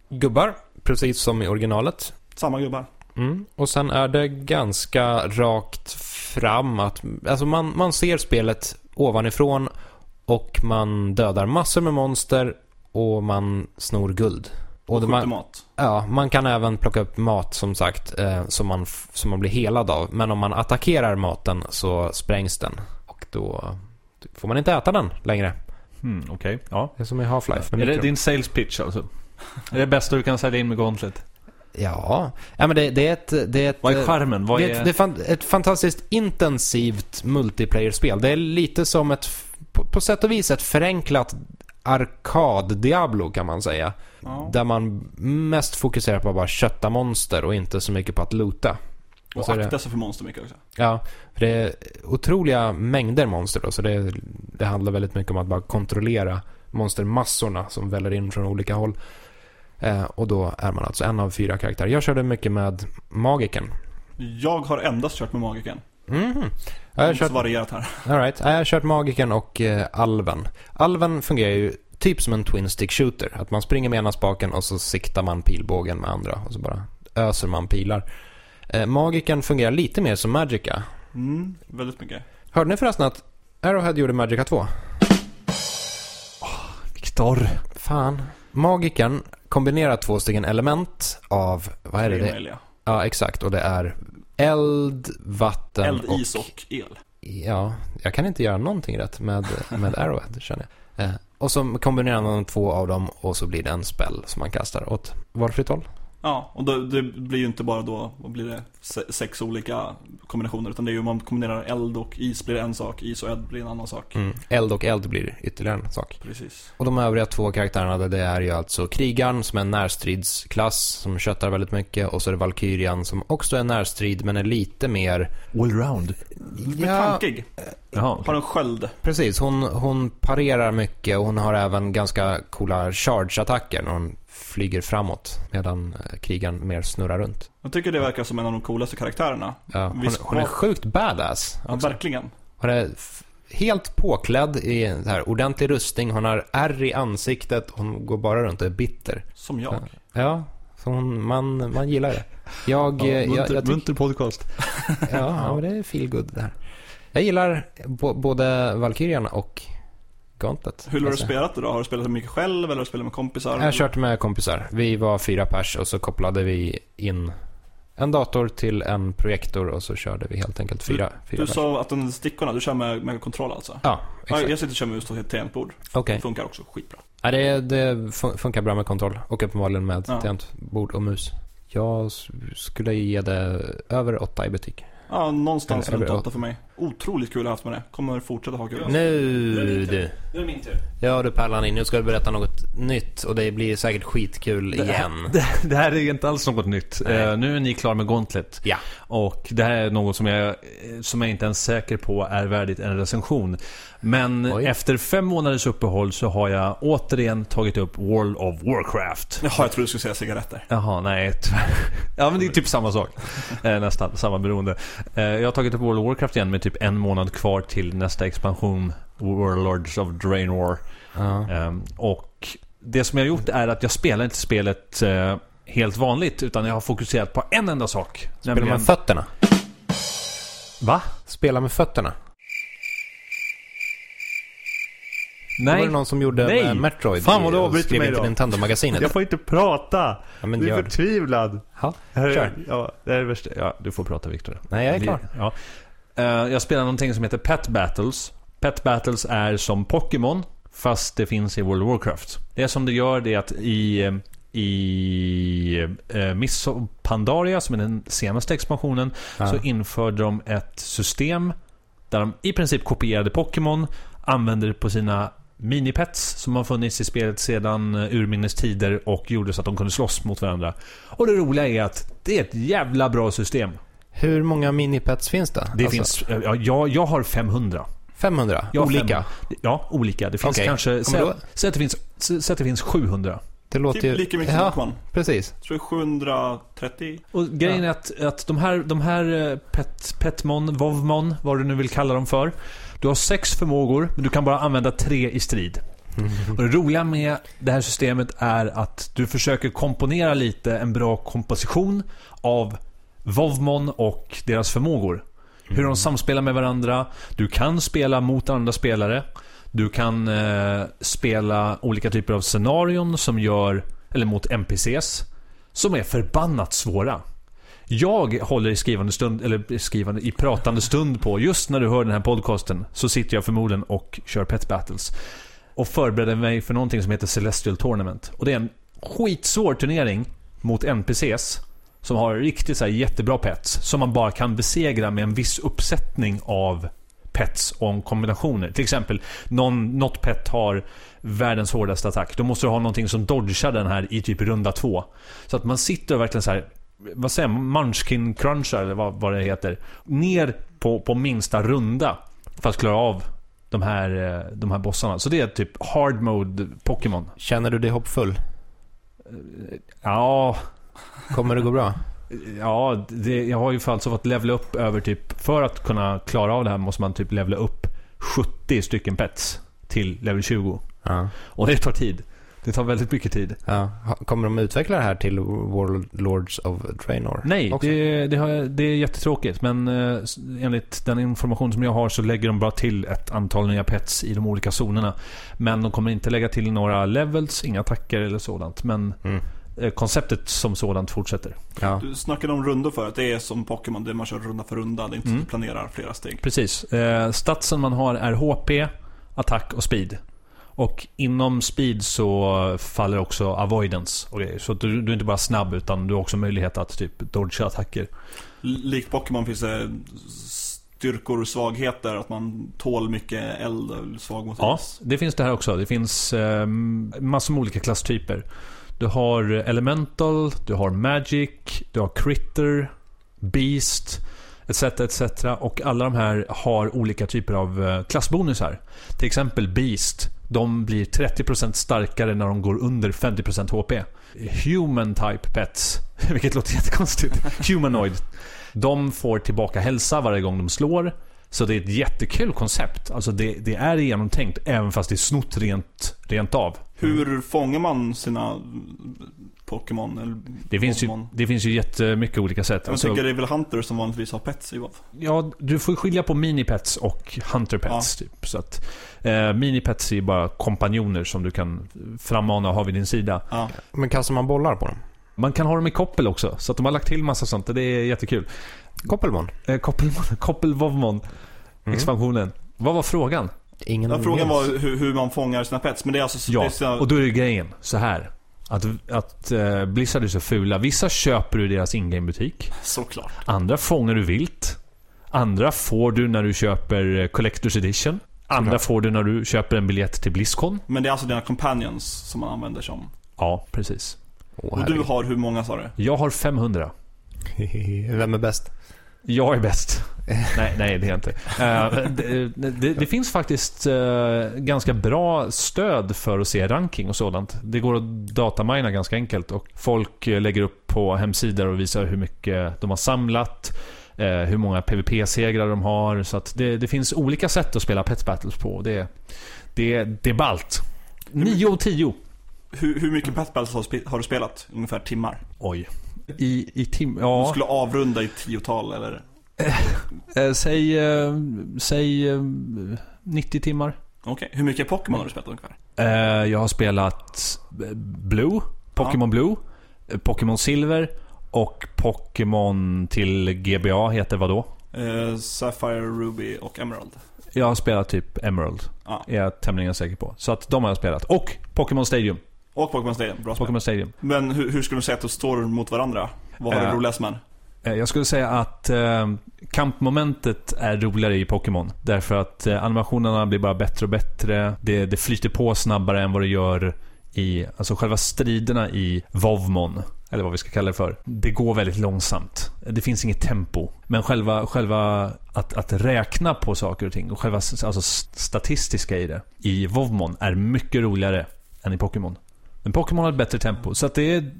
gubbar, precis som i originalet. Samma gubbar. Mm. Och sen är det ganska rakt fram att alltså man, man ser spelet ovanifrån och man dödar massor med monster och man snor guld. Och Och det- skjuter man, mat. ja, man kan även plocka upp mat som sagt eh, som, man, f- som man blir helad av. Men om man attackerar maten så sprängs den och då får man inte äta den längre. Hmm, Okej, ja. Det är som i Half-Life. med Är det mikro. din sales pitch alltså? Är det bästa du kan sälja in med Gauntlet? Ja, ja men det, det är ett... Det är ett Vad eh, är charmen? Vad det, är... ett- det är är... fan, ett fantastiskt intensivt multiplayer-spel. Det är lite som ett, f- på, på sätt och vis ett förenklat arkad-Diablo kan man säga. Ja. Där man mest fokuserar på att bara kötta monster och inte så mycket på att loota. Och så är det- akta sig för monster mycket också. Ja, för det är otroliga mängder monster då, så det, det handlar väldigt mycket om att bara kontrollera monstermassorna som väller in från olika håll. Eh, och då är man alltså en av fyra karaktärer. Jag körde mycket med magiken. Jag har endast kört med Magiken. Mhm. Ja, Jag jag har har kört varierat här. All right. Ja, Jag har kört Magiken och eh, Alven. Alven fungerar ju typ som en Twin Stick Shooter. Att man springer med ena spaken och så siktar man pilbågen med andra. Och så bara öser man pilar. Eh, Magiken fungerar lite mer som Magica. Mm, väldigt mycket. Hörde ni förresten att Arrowhead gjorde Magica 2? Viktor. Fan. Magiken kombinerar två stycken element av, vad är det? Tre det? möjliga. Ja, exakt. Och det är eld, vatten Eld, och... is och el. Ja, jag kan inte göra någonting rätt med, med Arrowhead känner jag. Eh, och så kombinerar man två av dem och så blir det en spell som man kastar åt valfritt håll. Ja, och det, det blir ju inte bara då, vad blir det, se- sex olika kombinationer. Utan det är ju om man kombinerar eld och is blir det en sak, is och eld blir en annan sak. Mm. Eld och eld blir ytterligare en sak. Precis. Och de övriga två karaktärerna, det är ju alltså krigaren som är en närstridsklass som köttar väldigt mycket och så är det Valkyrian som också är närstrid men är lite mer... Allround? Blir tankig. Jaha. Har en sköld. Precis, hon, hon parerar mycket och hon har även ganska coola charge-attacker när hon flyger framåt medan eh, krigaren mer snurrar runt. Jag tycker det verkar som en av de coolaste karaktärerna. Ja, hon, Visst, hon är vad- sjukt badass. Ja, verkligen. Hon är f- helt påklädd i en så här ordentlig rustning, hon har ärr i ansiktet, hon går bara runt och är bitter. Som jag. Ja, så hon, man, man gillar det. Jag, eh, jag, jag tycker... podcast. Ja, ja, men det är feel good det här. Jag gillar bo, både Valkyrian och Gauntlet. Hur har du Alltså, spelat det då? Har du spelat det mycket själv eller har du spelat med kompisar? Jag har kört med kompisar. Vi var fyra pers och så kopplade vi in en dator till en projektor och så körde vi helt enkelt fyra, fyra du pers. sa att den stickorna, du kör med, med kontroll alltså? Ja, Ja, exakt. jag sitter och kör med just ett tangentbord. Okej. Det funkar också skitbra. Ja, det, det fun- funkar bra med kontroll och uppenbarligen med Ja. tangentbord och mus. Jag s- skulle ge det över åtta i betyg. Ja, någonstans Ja, det runt blir- åtta för mig. Otroligt kul jag har haft med det. Kommer fortsätta ha kul. Nu du. Nu är det min tur. Ja du Pärlan, nu ska du berätta något nytt och det blir säkert skitkul igen. Det, det här är inte alls något nytt. Nej. Eh, nu är ni klara med Gauntlet. Ja. Och det här är något som jag, eh, som jag inte ens säker på är värdigt en recension. Men Oj. efter fem månaders uppehåll så har jag återigen tagit upp World of Warcraft. Jaha, jag trodde du skulle säga cigaretter. Jaha, nej. tyvärr. Ja, men det är typ samma sak. Eh, Nästan samma beroende. Eh, Jag har tagit upp World of Warcraft igen med typ en månad kvar till nästa expansion. Warlords of Draenor. Ja. Ehm, Och det som jag har gjort är att jag spelar inte spelet eh, helt vanligt utan jag har fokuserat på en enda sak. Spela med fötterna. Va? Spela med fötterna. Det var Nej, det någon som gjorde Nej. med Metroid. Fan, vad du i- och avbryter skrev mig in till då. Nintendo-magasinet. jag får inte prata. Ja, men Du är gör. förtvivlad. Ja, Här är- kör. Ja, det här är det värsta. Ja, du får prata Viktor. Nej, jag är Vi- klar. Ja. Eh, jag spelar någonting som heter Pet Battles. Pet Battles är som Pokémon, fast det finns i World of Warcraft. Det som det gör det är att i, eh, i uh, Miss of Pandaria, som är den senaste expansionen, Ja. så införde de ett system där de i princip kopierade Pokémon, använde det på sina minipets som har funnits i spelet sedan eh, urminnes tider och gjorde så att de kunde slåss mot varandra. Och det roliga är att det är ett jävla bra system. Hur många minipets finns det? Det Alltså, finns, eh, ja, jag, jag har 500. 500? Jag har Olika? fem- ja, olika. Det finns Okej. kanske... Ja, men då- Säg säg att det finns, sä- säg att det finns 700. Det låter ju... Typ lika mycket som ja, Pokémon. precis. Jag tror det är 730. Och grejen är att, att de här, de här eh, pet, Petmon, Vovmon, vad du nu vill kalla dem för. Du har sex förmågor, men du kan bara använda tre i strid. Och det roliga med det här systemet är att du försöker komponera lite en bra komposition av Vovmon och deras förmågor. Hur de samspelar med varandra. Du kan spela mot andra spelare. Du kan eh, spela olika typer av scenarion som gör, eller mot NPCs, som är förbannat svåra. Jag håller i skrivande stund, eller i skrivande, i pratande stund på, just när du hör den här podcasten, så sitter jag förmodligen och kör Pet Battles. Och förbereder mig för någonting som heter Celestial Tournament. Och det är en skitsvår turnering mot NPCs. Som har riktigt så här jättebra pets. Som man bara kan besegra med en viss uppsättning av pets och kombinationer. Till exempel, någon, något pet har världens hårdaste attack. Då måste du ha någonting som dodgar den här i typ runda två. Så att man sitter och verkligen så här vad säger man, munchkin crunchar eller vad, vad det heter. Ner på, på minsta runda för att klara av de här, eh, de här bossarna. Så det är typ hard mode Pokémon. Känner du dig hoppfull? Ja, Kommer det gå bra? ja det, jag har ju för alltså fått levla upp över typ, för att kunna klara av det här måste man typ levla upp 70 stycken pets till level 20. Ja. Och det tar tid. Det tar väldigt mycket tid. ja. Ha- Kommer de utveckla det här till World Lords of Draenor? Nej, också? det, det, har, jag- det är jättetråkigt. Men eh, s- enligt den information som jag har så lägger de bara till ett antal nya pets i de olika zonerna. Men de kommer inte lägga till några levels, inga attacker eller sådant. Men Mm. eh, konceptet som sådant fortsätter. Ja. Du snackade om rundor för att det är som Pokémon, det är man kör runda för runda. Det är inte Mm. du planerar flera steg. Precis. Eh, statsen man har är HP, attack och speed. Och inom speed så faller också avoidance och grejer. Så att du, du är inte bara snabb utan du har också möjlighet att typ dodga attacker. L- Likt Pokémon finns det styrkor och svagheter. Att man tål mycket eld och svag mot Ja, is. det finns det här också. Det finns eh, massor med olika klasstyper. Du har elemental, du har magic, du har critter, beast, etc. etc. Och alla de här har olika typer av eh, klassbonusar. Till exempel beast. De blir 30% starkare när de går under 50% HP. Human type pets, vilket låter jättekonstigt. Humanoid. De får tillbaka hälsa varje gång de slår. Så det är ett jättekul koncept. Alltså det, det är genomtänkt även fast det är snott rent, rent av. Hur fångar man sina Pokémon? Eller Det finns, ju, Pokémon? det finns ju jättemycket olika sätt. Jag Alltså, tänker det är väl Hunter som vanligtvis har pets i WoW. ja, du får ju skilja på minipets och hunterpets. Typ, så att, eh, minipets är ju bara kompanjoner som du kan frammana och ha vid din sida. Ja. Men kastar man bollar på dem? Man kan ha dem i koppel också. Så att de har lagt till massa sånt. Det är jättekul. Koppelmon? Eh, koppel, Koppelvovmon, Mm. expansionen. Vad var frågan? Ingen Ja, frågan minns. var hur, hur man fångar sina pets. Men det är alltså det är Ja, sina, och då är det grejen så här. Att, att eh, Blizzard är så fula. Vissa köper du i deras in-game-butik. såklart. Andra fångar du vilt. Andra får du när du köper eh, Collector's Edition. Andra Såklart. får du när du köper en biljett till Blizzcon. Men det är alltså dina companions som man använder som. Ja, precis. Åh, Och du herregud. har hur många sa du? Jag har 500. Vem är bäst? Jag är bäst. nej, nej, det är jag inte. Eh, det, det, det finns faktiskt eh, ganska bra stöd för att se ranking och sådant. Det går att datamina ganska enkelt och folk eh, lägger upp på hemsidor och visar hur mycket de har samlat, eh, hur många PVP-segrar de har. Så att det, det finns olika sätt att spela Pets Battles på. Det, det, det är ballt. 9 och 10. Hur, hur mycket pet battles har, spe- har du spelat? Ungefär timmar? Oj. I, i tim... Du Ja. skulle avrunda i tiotal eller? Eh, säg, eh, säg eh, 90 timmar. Okej, hur mycket Pokémon har du spelat ungefär? Eh, jag har spelat eh, Blue, Pokémon Blue, eh, Pokémon Silver och Pokémon till GBA heter vad då? Eh, Sapphire, Ruby och Emerald. Jag har spelat typ Emerald. Ja. Är jag tämligen säker på. Så att de har jag spelat. Och Pokémon Stadium. Och Pokémon Stadium, bra spel. Pokémon Stadium. Men hur, hur skulle du säga att de står mot varandra? Vad har Eh. du roligast med? Eh, jag skulle säga att eh, kampmomentet är roligare i Pokémon. Därför att eh, animationerna blir bara bättre och bättre. Det, det flyter på snabbare än vad det gör i, alltså själva striderna i Vovmon. Eller vad vi ska kalla det för. Det går väldigt långsamt. Det finns inget tempo. Men själva, själva att, att räkna på saker och ting och själva s- alltså st- statistiska i det i Vovmon är mycket roligare än i Pokémon. Men Pokémon har ett bättre tempo. Så att det, är,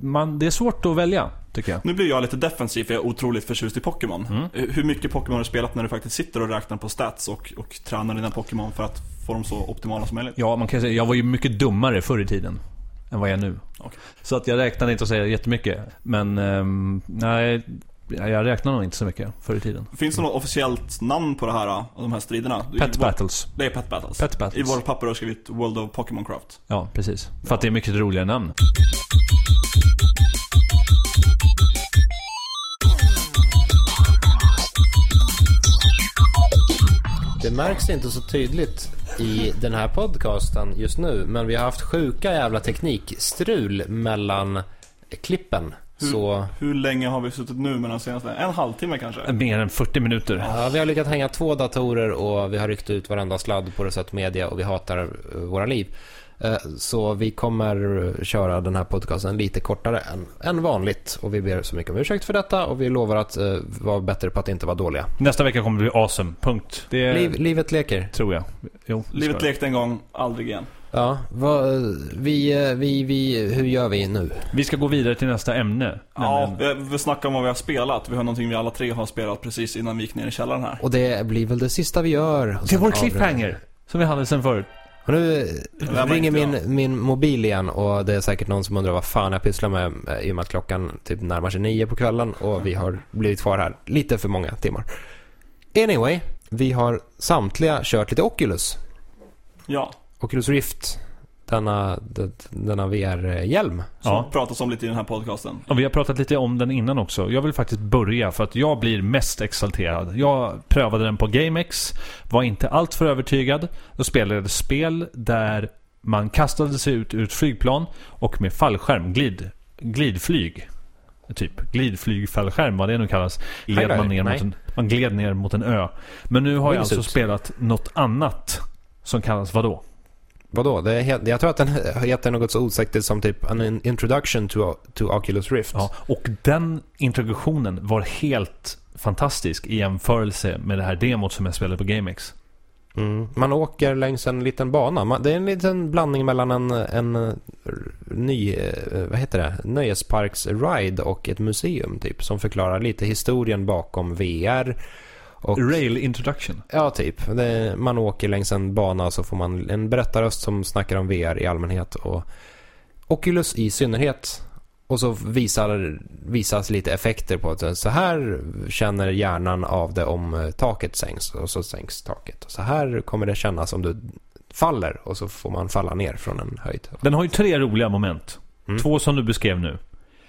man, det är svårt att välja, tycker jag. Nu blir jag lite defensiv för jag är otroligt förtjust i Pokémon. Mm. Eh, Hur mycket Pokémon har du spelat när du faktiskt sitter och räknar på stats och, och tränar dina Pokémon för att få dem så optimala som möjligt? Ja, man kan säga jag var ju mycket dummare förr i tiden än vad jag är nu. Okej. Så att jag räknar inte och säger jättemycket. Men ehm, nej, jag räknar nog inte så mycket förr i tiden. Finns det något officiellt namn på det här, eh, de här striderna? Pet I vår- battles. Det är Pet Battles. Pet battles. I våra papper har jag skrivit World of Pokémon Craft. Ja, precis. För att det är mycket roligare namn. Det märks inte så tydligt i den här podcasten just nu, men vi har haft sjuka jävla teknikstrul mellan klippen. Mm. Så Hur länge har vi suttit nu med den senaste? En halvtimme kanske? Mer än 40 minuter. ja, vi har lyckats hänga två datorer och vi har ryckt ut varenda sladd på Resett Media och vi hatar eh, våra liv. Eh, Så vi kommer eh, köra den här podcasten lite kortare än, än vanligt och vi ber så mycket om ursäkt för detta och vi lovar att eh, vara bättre på att inte vara dåliga. Nästa vecka kommer det bli awesome. Punkt. Det är, Liv, livet leker. tror jag. Jo, det Livet ska jag. lekte en gång, aldrig igen. Ja, vad, eh, vi, eh, vi, vi, hur gör vi nu? Vi ska gå vidare till nästa ämne. Ja, nämligen- vi, vi snackar om vad vi har spelat. Vi har någonting vi alla tre har spelat precis innan vi gick ner i källaren här. Och det blir väl det sista vi gör. Och Till sen vår avrundar vi. cliffhanger. Som vi hade sen förut. Och nu Det där var ringer inte jag. min, min mobil igen och det är säkert någon som undrar vad fan jag pysslar med eh, i och med att klockan typ närmar sig nio på kvällen och vi har blivit kvar här lite för många timmar. Anyway, vi har samtliga kört lite Oculus. Ja, Oculus Rift denna, d- denna VR-hjälm. Som Ja. pratas om lite i den här podcasten. Och vi har pratat lite om den innan också. Jag vill faktiskt börja för att jag blir mest exalterad. Jag prövade den på GameX, var inte alltför övertygad. Jag spelade ett spel där man kastade sig ut ur ett flygplan och med fallskärm, glid, glidflyg. Typ glidflygfallskärm, vad det nu kallas. Gled Aj, aj, man, ner nej. mot en, man gled ner mot en ö. Men nu har jag alltså Wingsuit. spelat något annat som kallas vadå? Vadå? Det är helt, jag tror att den heter något så osäkert som typ An Introduction to, to Oculus Rift. Ja, och den introduktionen var helt fantastisk i jämförelse med det här demot som jag spelade på GameX. Mm. Man åker längs en liten bana. Man, det är en liten blandning mellan en, en eh, ny, eh, vad heter det, nöjesparks-ride och ett museum typ. Som förklarar lite historien bakom VR. Och, Rail introduction. ja, typ. Det, är- man åker längs en bana så får man en berättarröst som snackar om VR i allmänhet och Oculus i synnerhet. Och så visar, visas lite effekter på att så här känner hjärnan av det om eh, taket sänks och så sänks taket. Och så här kommer det kännas om du faller och så får man falla ner från en höjd. Den har ju tre roliga moment. Mm. Två som du beskrev nu.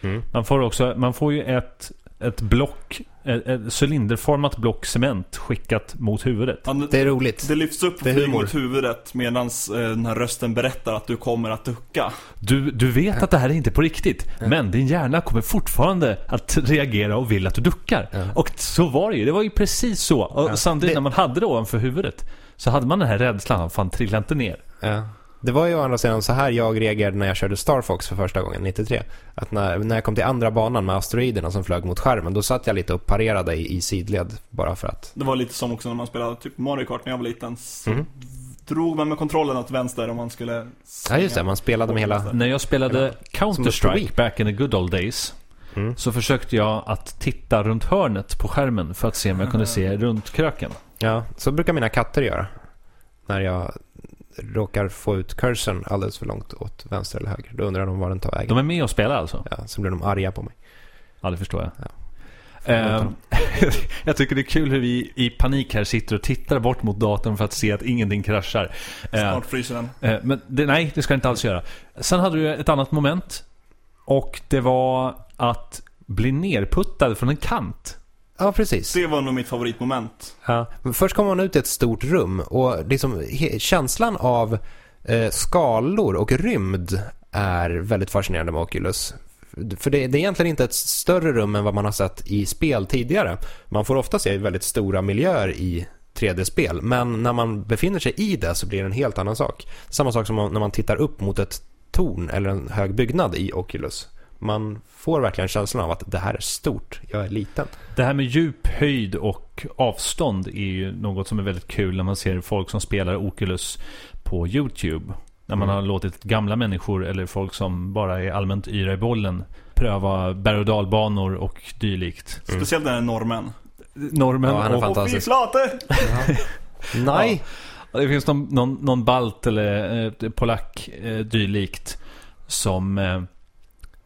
Mm. Man får, också, man får ju ett, ett block, ett, ett cylinderformat block cement skickat mot huvudet. Han, Det är roligt. det lyfts upp det är flyg humor. mot huvudet medan den här rösten berättar att du kommer att ducka. Du, du vet att det här är inte på riktigt, men din hjärna kommer fortfarande att reagera och vill att du duckar. Ja. Och så var det ju. Det var ju precis så. Och Ja. samtidigt Det- när man hade det ovanför huvudet så hade man den här rädslan. Fan, trilla inte ner. Ja. Det var ju å andra sidan så här jag reagerade när jag körde Star Fox för första gången 93. Att när, när jag kom till andra banan med asteroiderna som flög mot skärmen, då satt jag lite och parerade i, i sidled bara för att. Det var lite som också när man spelade typ Mario Kart när jag var liten. Så Mhm. drog man med kontrollen åt vänster om man skulle Ja just det, man spelade med hela... När jag spelade Wii. Counter-Strike back in the good old days Mm. så försökte jag att titta runt hörnet på skärmen för att se om jag Ah. kunde se runt kröken. Ja, så brukar mina katter göra. När jag råkar få ut kursen alldeles för långt åt vänster eller höger. Då undrar de var den tar vägen. De är med och spelar alltså? Ja, så blir de arga på mig. Ja, det förstår jag. Ja. Eh, jag tycker det är kul hur vi i panik här sitter och tittar bort mot datorn för att se att ingenting kraschar. Eh, snart frysa den. Eh, Men det, nej, det ska jag inte alls göra. Sen hade du ett annat moment. Och det var att bli nerputtad från en kant. Ja, precis. Det var nog mitt favoritmoment. Ja. Men först kommer man ut i ett stort rum och liksom he- känslan av eh, skalor och rymd är väldigt fascinerande med Oculus. För det, det är egentligen inte ett större rum än vad man har sett i spel tidigare. Man får ofta se väldigt stora miljöer i 3D-spel, men när man befinner sig i det så blir det en helt annan sak. Samma sak som om- när man tittar upp mot ett torn eller en hög byggnad i Oculus. Man får verkligen känslan av att det här är stort, jag är liten. Det här med djup, höjd och avstånd är ju något som är väldigt kul när man ser folk som spelar Oculus på YouTube. När man Mm. har låtit gamla människor eller folk som bara är allmänt yra i bollen pröva berg och dalbanor och dylikt. Speciellt den här normen. Normen Mm. Ja, han är och Och vi Mm. Fantastiskt. flate! Nej! Ja, Det finns någon, någon, någon balt eller eh, polack eh, dylikt som eh,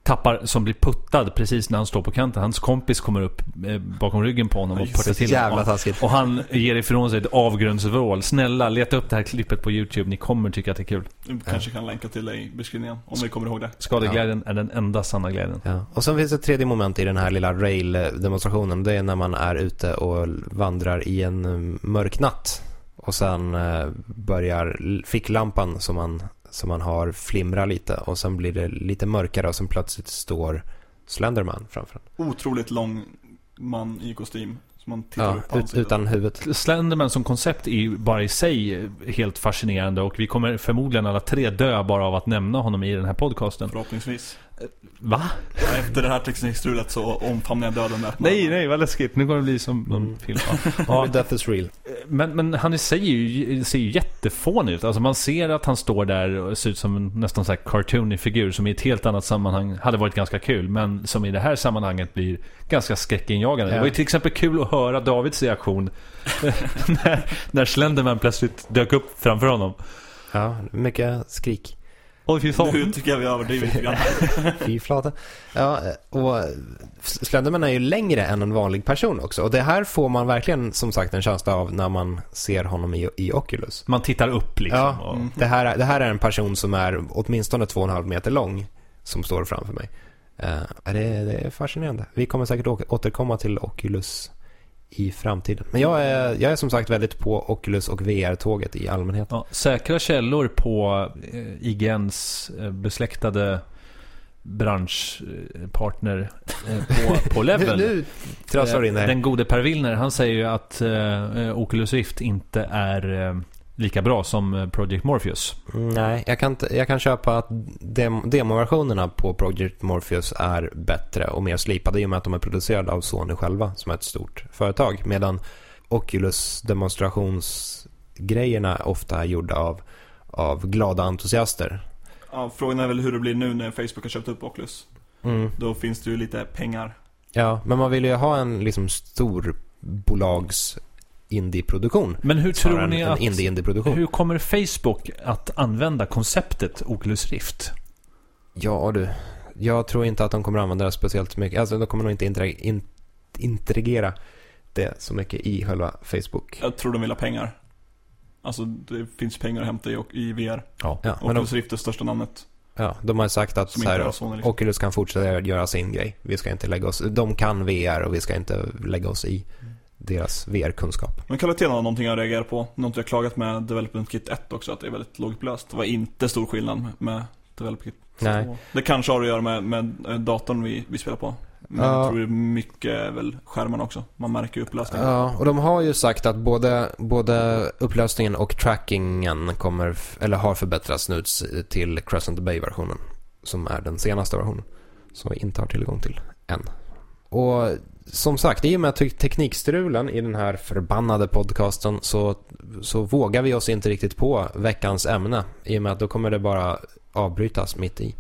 tappar, som blir puttad precis när han står på kanten. Hans kompis kommer upp eh, bakom ryggen på honom och puttar Så till jävla honom. taskigt. Och han ger ifrån sig ett avgrundsvrål. Snälla, leta upp det här klippet på YouTube. Ni kommer tycka att det är kul. Vi kanske kan länka till dig i beskrivningen om vi kommer ihåg det. Skadeglädjen är den enda sanna glädjen. Ja. Och sen finns det ett tredje moment i den här lilla rail-demonstrationen. Det är när man är ute och vandrar i en eh, mörk natt. Och sen eh, börjar l- ficklampan som man, som man har flimra lite. Och sen blir det lite mörkare och sen plötsligt står Slenderman framför en. Otroligt lång man i kostym. Som man tittar upp Ja, på ut, ansiktet. utan huvudet. Slenderman som koncept är ju bara i sig helt fascinerande och vi kommer förmodligen alla tre dö bara av att nämna honom i den här podcasten. Förhoppningsvis. Va? Efter det här teknikstrulet så omfamnar jag döden med att man- Nej, nej, vad läskigt. Nu kommer det bli som någon film. Ja. Ja, Death is real. Men, men han i sig är ju, ser ju jättefånig ut. Alltså man ser att han står där och ser ut som en nästan så här cartoonig figur som i ett helt annat sammanhang hade varit ganska kul. Men som i det här sammanhanget blir ganska skräckinjagande. Det Ja. var ju till exempel kul att höra Davids reaktion när, när Slenderman plötsligt dök upp framför honom. Ja, mycket skrik. Oj fy fan. Nu tycker jag vi överdriver lite grann. Fy flata. Ja, och Slenderman är ju längre än en vanlig person också. Och det här får man verkligen som sagt en känsla av när man ser honom i, i Oculus. Man tittar upp liksom. Ja. och- Det här, är- det här är en person som är åtminstone två och en halv meter lång som står framför mig. Eh, det, det är fascinerande. Vi kommer säkert å- återkomma till Oculus i framtiden. Men jag är, jag är som sagt väldigt på Oculus och VR-tåget i allmänhet. Ja, säkra källor på eh, IGNs eh, besläktade branschpartner eh, på, på Nu, Level. nu trasslar du in det här. Eh, Den gode Per Willner, han säger ju att eh, Oculus Rift inte är eh, lika bra som eh, Project Morpheus. Mm, Nej, jag kan, inte- jag kan köpa att dem, demoversionerna på Project Morpheus är bättre och mer slipade i och med att de är producerade av Sony själva som är ett stort företag. Medan Oculus demonstrationsgrejerna ofta är gjorda av, av glada entusiaster. Ja, frågan är väl hur det blir nu när Facebook har köpt upp Oculus. Mm. Då finns det ju lite pengar. Ja, men man vill ju ha en liksom stor bolags indieproduktion. Men hur snarare tror ni än att... en indie-indieproduktion. Hur kommer Facebook att använda konceptet Oculus Rift? Ja du, jag tror inte att de kommer använda det speciellt mycket. Alltså de kommer nog inte intera- in- interagera det så mycket i själva Facebook. Jag tror de vill ha pengar. Alltså det finns pengar att hämta i, i VR. Ja. Ja, men de, Oculus Rift är största namnet. ja, de har sagt att Som så inte här, är Sony liksom. Oculus kan fortsätta göra sin grej. Vi ska inte lägga oss, de kan VR och vi ska inte lägga oss i Mm. deras VR-kunskap. Men kvaliteten var någonting jag reagerar på. Något jag klagat med Development Kit 1 också, att det är väldigt lågupplöst. Det var inte stor skillnad med- med Development Kit 2. Nej. Det kanske har att göra med, med eh, datorn vi, vi spelar på. Men Ja. jag tror det är mycket är väl skärmarna också. Man märker ju upplösningen. Ja, och de har ju sagt att både, både upplösningen och trackingen kommer, f- eller har förbättrats nu s- till Crescent Bay-versionen. Som är den senaste versionen. Som vi inte har tillgång till än. Och som sagt, i och med te- teknikstrulen i den här förbannade podcasten så, så vågar vi oss inte riktigt på veckans ämne. I och med att då kommer det bara avbrytas mitt i.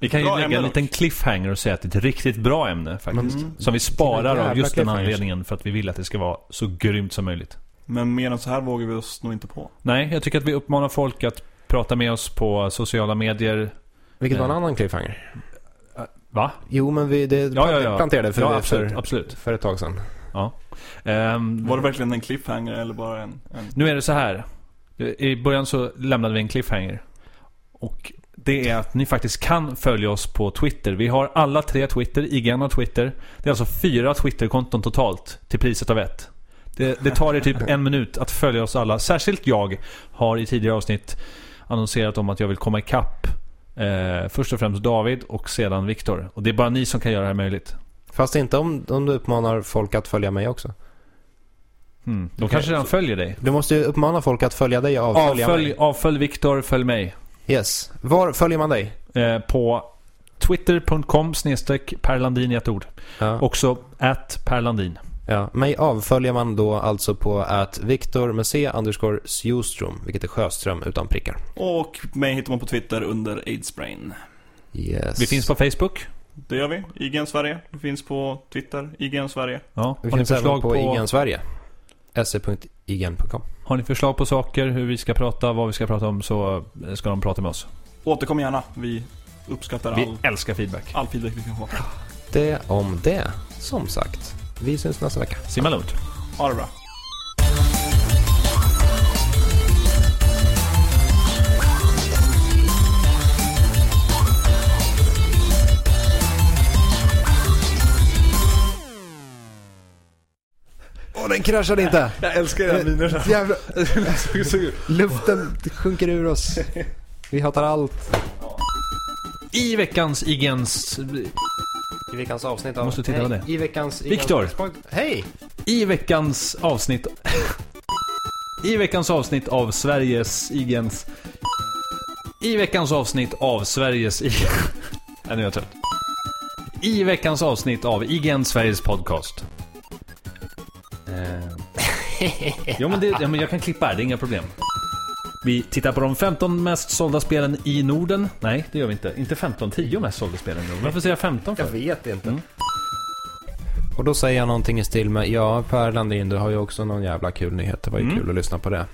Vi kan ju Bra lägga ämne en dock. liten cliffhanger och säga att det är ett riktigt bra ämne faktiskt. Mm. Som vi sparar Jävla av just den cliffhangers. anledningen för att vi vill att det ska vara så grymt som möjligt. Men mer än så här vågar vi oss nog inte på. Nej, jag tycker att vi uppmanar folk att prata med oss på sociala medier. Vilket var en Ja. annan cliffhanger. Va? Jo, men vi det Ja, ja, ja. planterade för, ja, absolut. för, absolut. för ett tag sedan. Mm. Ehm, Var det verkligen en cliffhanger eller bara en... en... Nu är det så här. I början så lämnade vi en cliffhanger. Och det är att ni faktiskt kan följa oss på Twitter. Vi har alla tre Twitter. IGN har Twitter. Det är alltså fyra Twitterkonton totalt till priset av ett. Det, det tar er typ en minut att följa oss alla. Särskilt jag har i tidigare avsnitt annonserat om att jag vill komma ikapp eh, först och främst David och sedan Viktor. Och det är bara ni som kan göra det här möjligt. Fast inte om, om du uppmanar folk att följa mig också. Mm. De Okej, kanske redan följer dig. Du måste ju uppmana folk att följa dig och avfölja Avfölj, mig. avfölj Viktor, följ mig. Yes. Var följer man dig? eh, på twitter.com snedstreck perlandin i ett ord. Ja. Också at perlandin. ja. Mig avföljer man då alltså på att Viktor med C underscore Sjostrom, vilket är Sjöström utan prickar. Och mig hittar man på Twitter under aidsbrain. Yes. Vi finns på Facebook. Det gör vi. IGN Sverige. Vi finns på Twitter. IGN Sverige. Ja. Vi har, ni finns även på, förslag på, IGN Sverige. E se.ign.com. har ni förslag på saker, hur vi ska prata, vad vi ska prata om så eh, ska de prata med oss. Återkom gärna. Vi uppskattar all, Vi älskar feedback. all feedback vi kan få. Det om det, som sagt. Vi syns nästa vecka. Simma lugnt. Ha det bra. Åh, den kraschade inte! Jag älskar era miner. Jävlar, Det såg ut. luften sjunker ur oss. Vi hatar allt. I veckans IGNs... I veckans avsnitt av... Måste titta på Nej, I veckans... Viktor. Hej! I veckans avsnitt... I veckans avsnitt av Sveriges IGNs... I veckans avsnitt av Sveriges IGNs... Nej, nu är jag trött. I veckans avsnitt av IGN Sveriges podcast. ja, men det, ja, men jag kan klippa här, det är inga problem. Vi tittar på de 15 mest sålda spelen i Norden. Nej, det gör vi inte. Inte 15, 10 mest sålda spelen i Norden. Varför säger jag 15 för? vet inte. Mm. Och då säger jag någonting i stil med, ja Per Landin, du har ju också någon jävla kul nyhet. Det var ju Mm. kul att lyssna på det.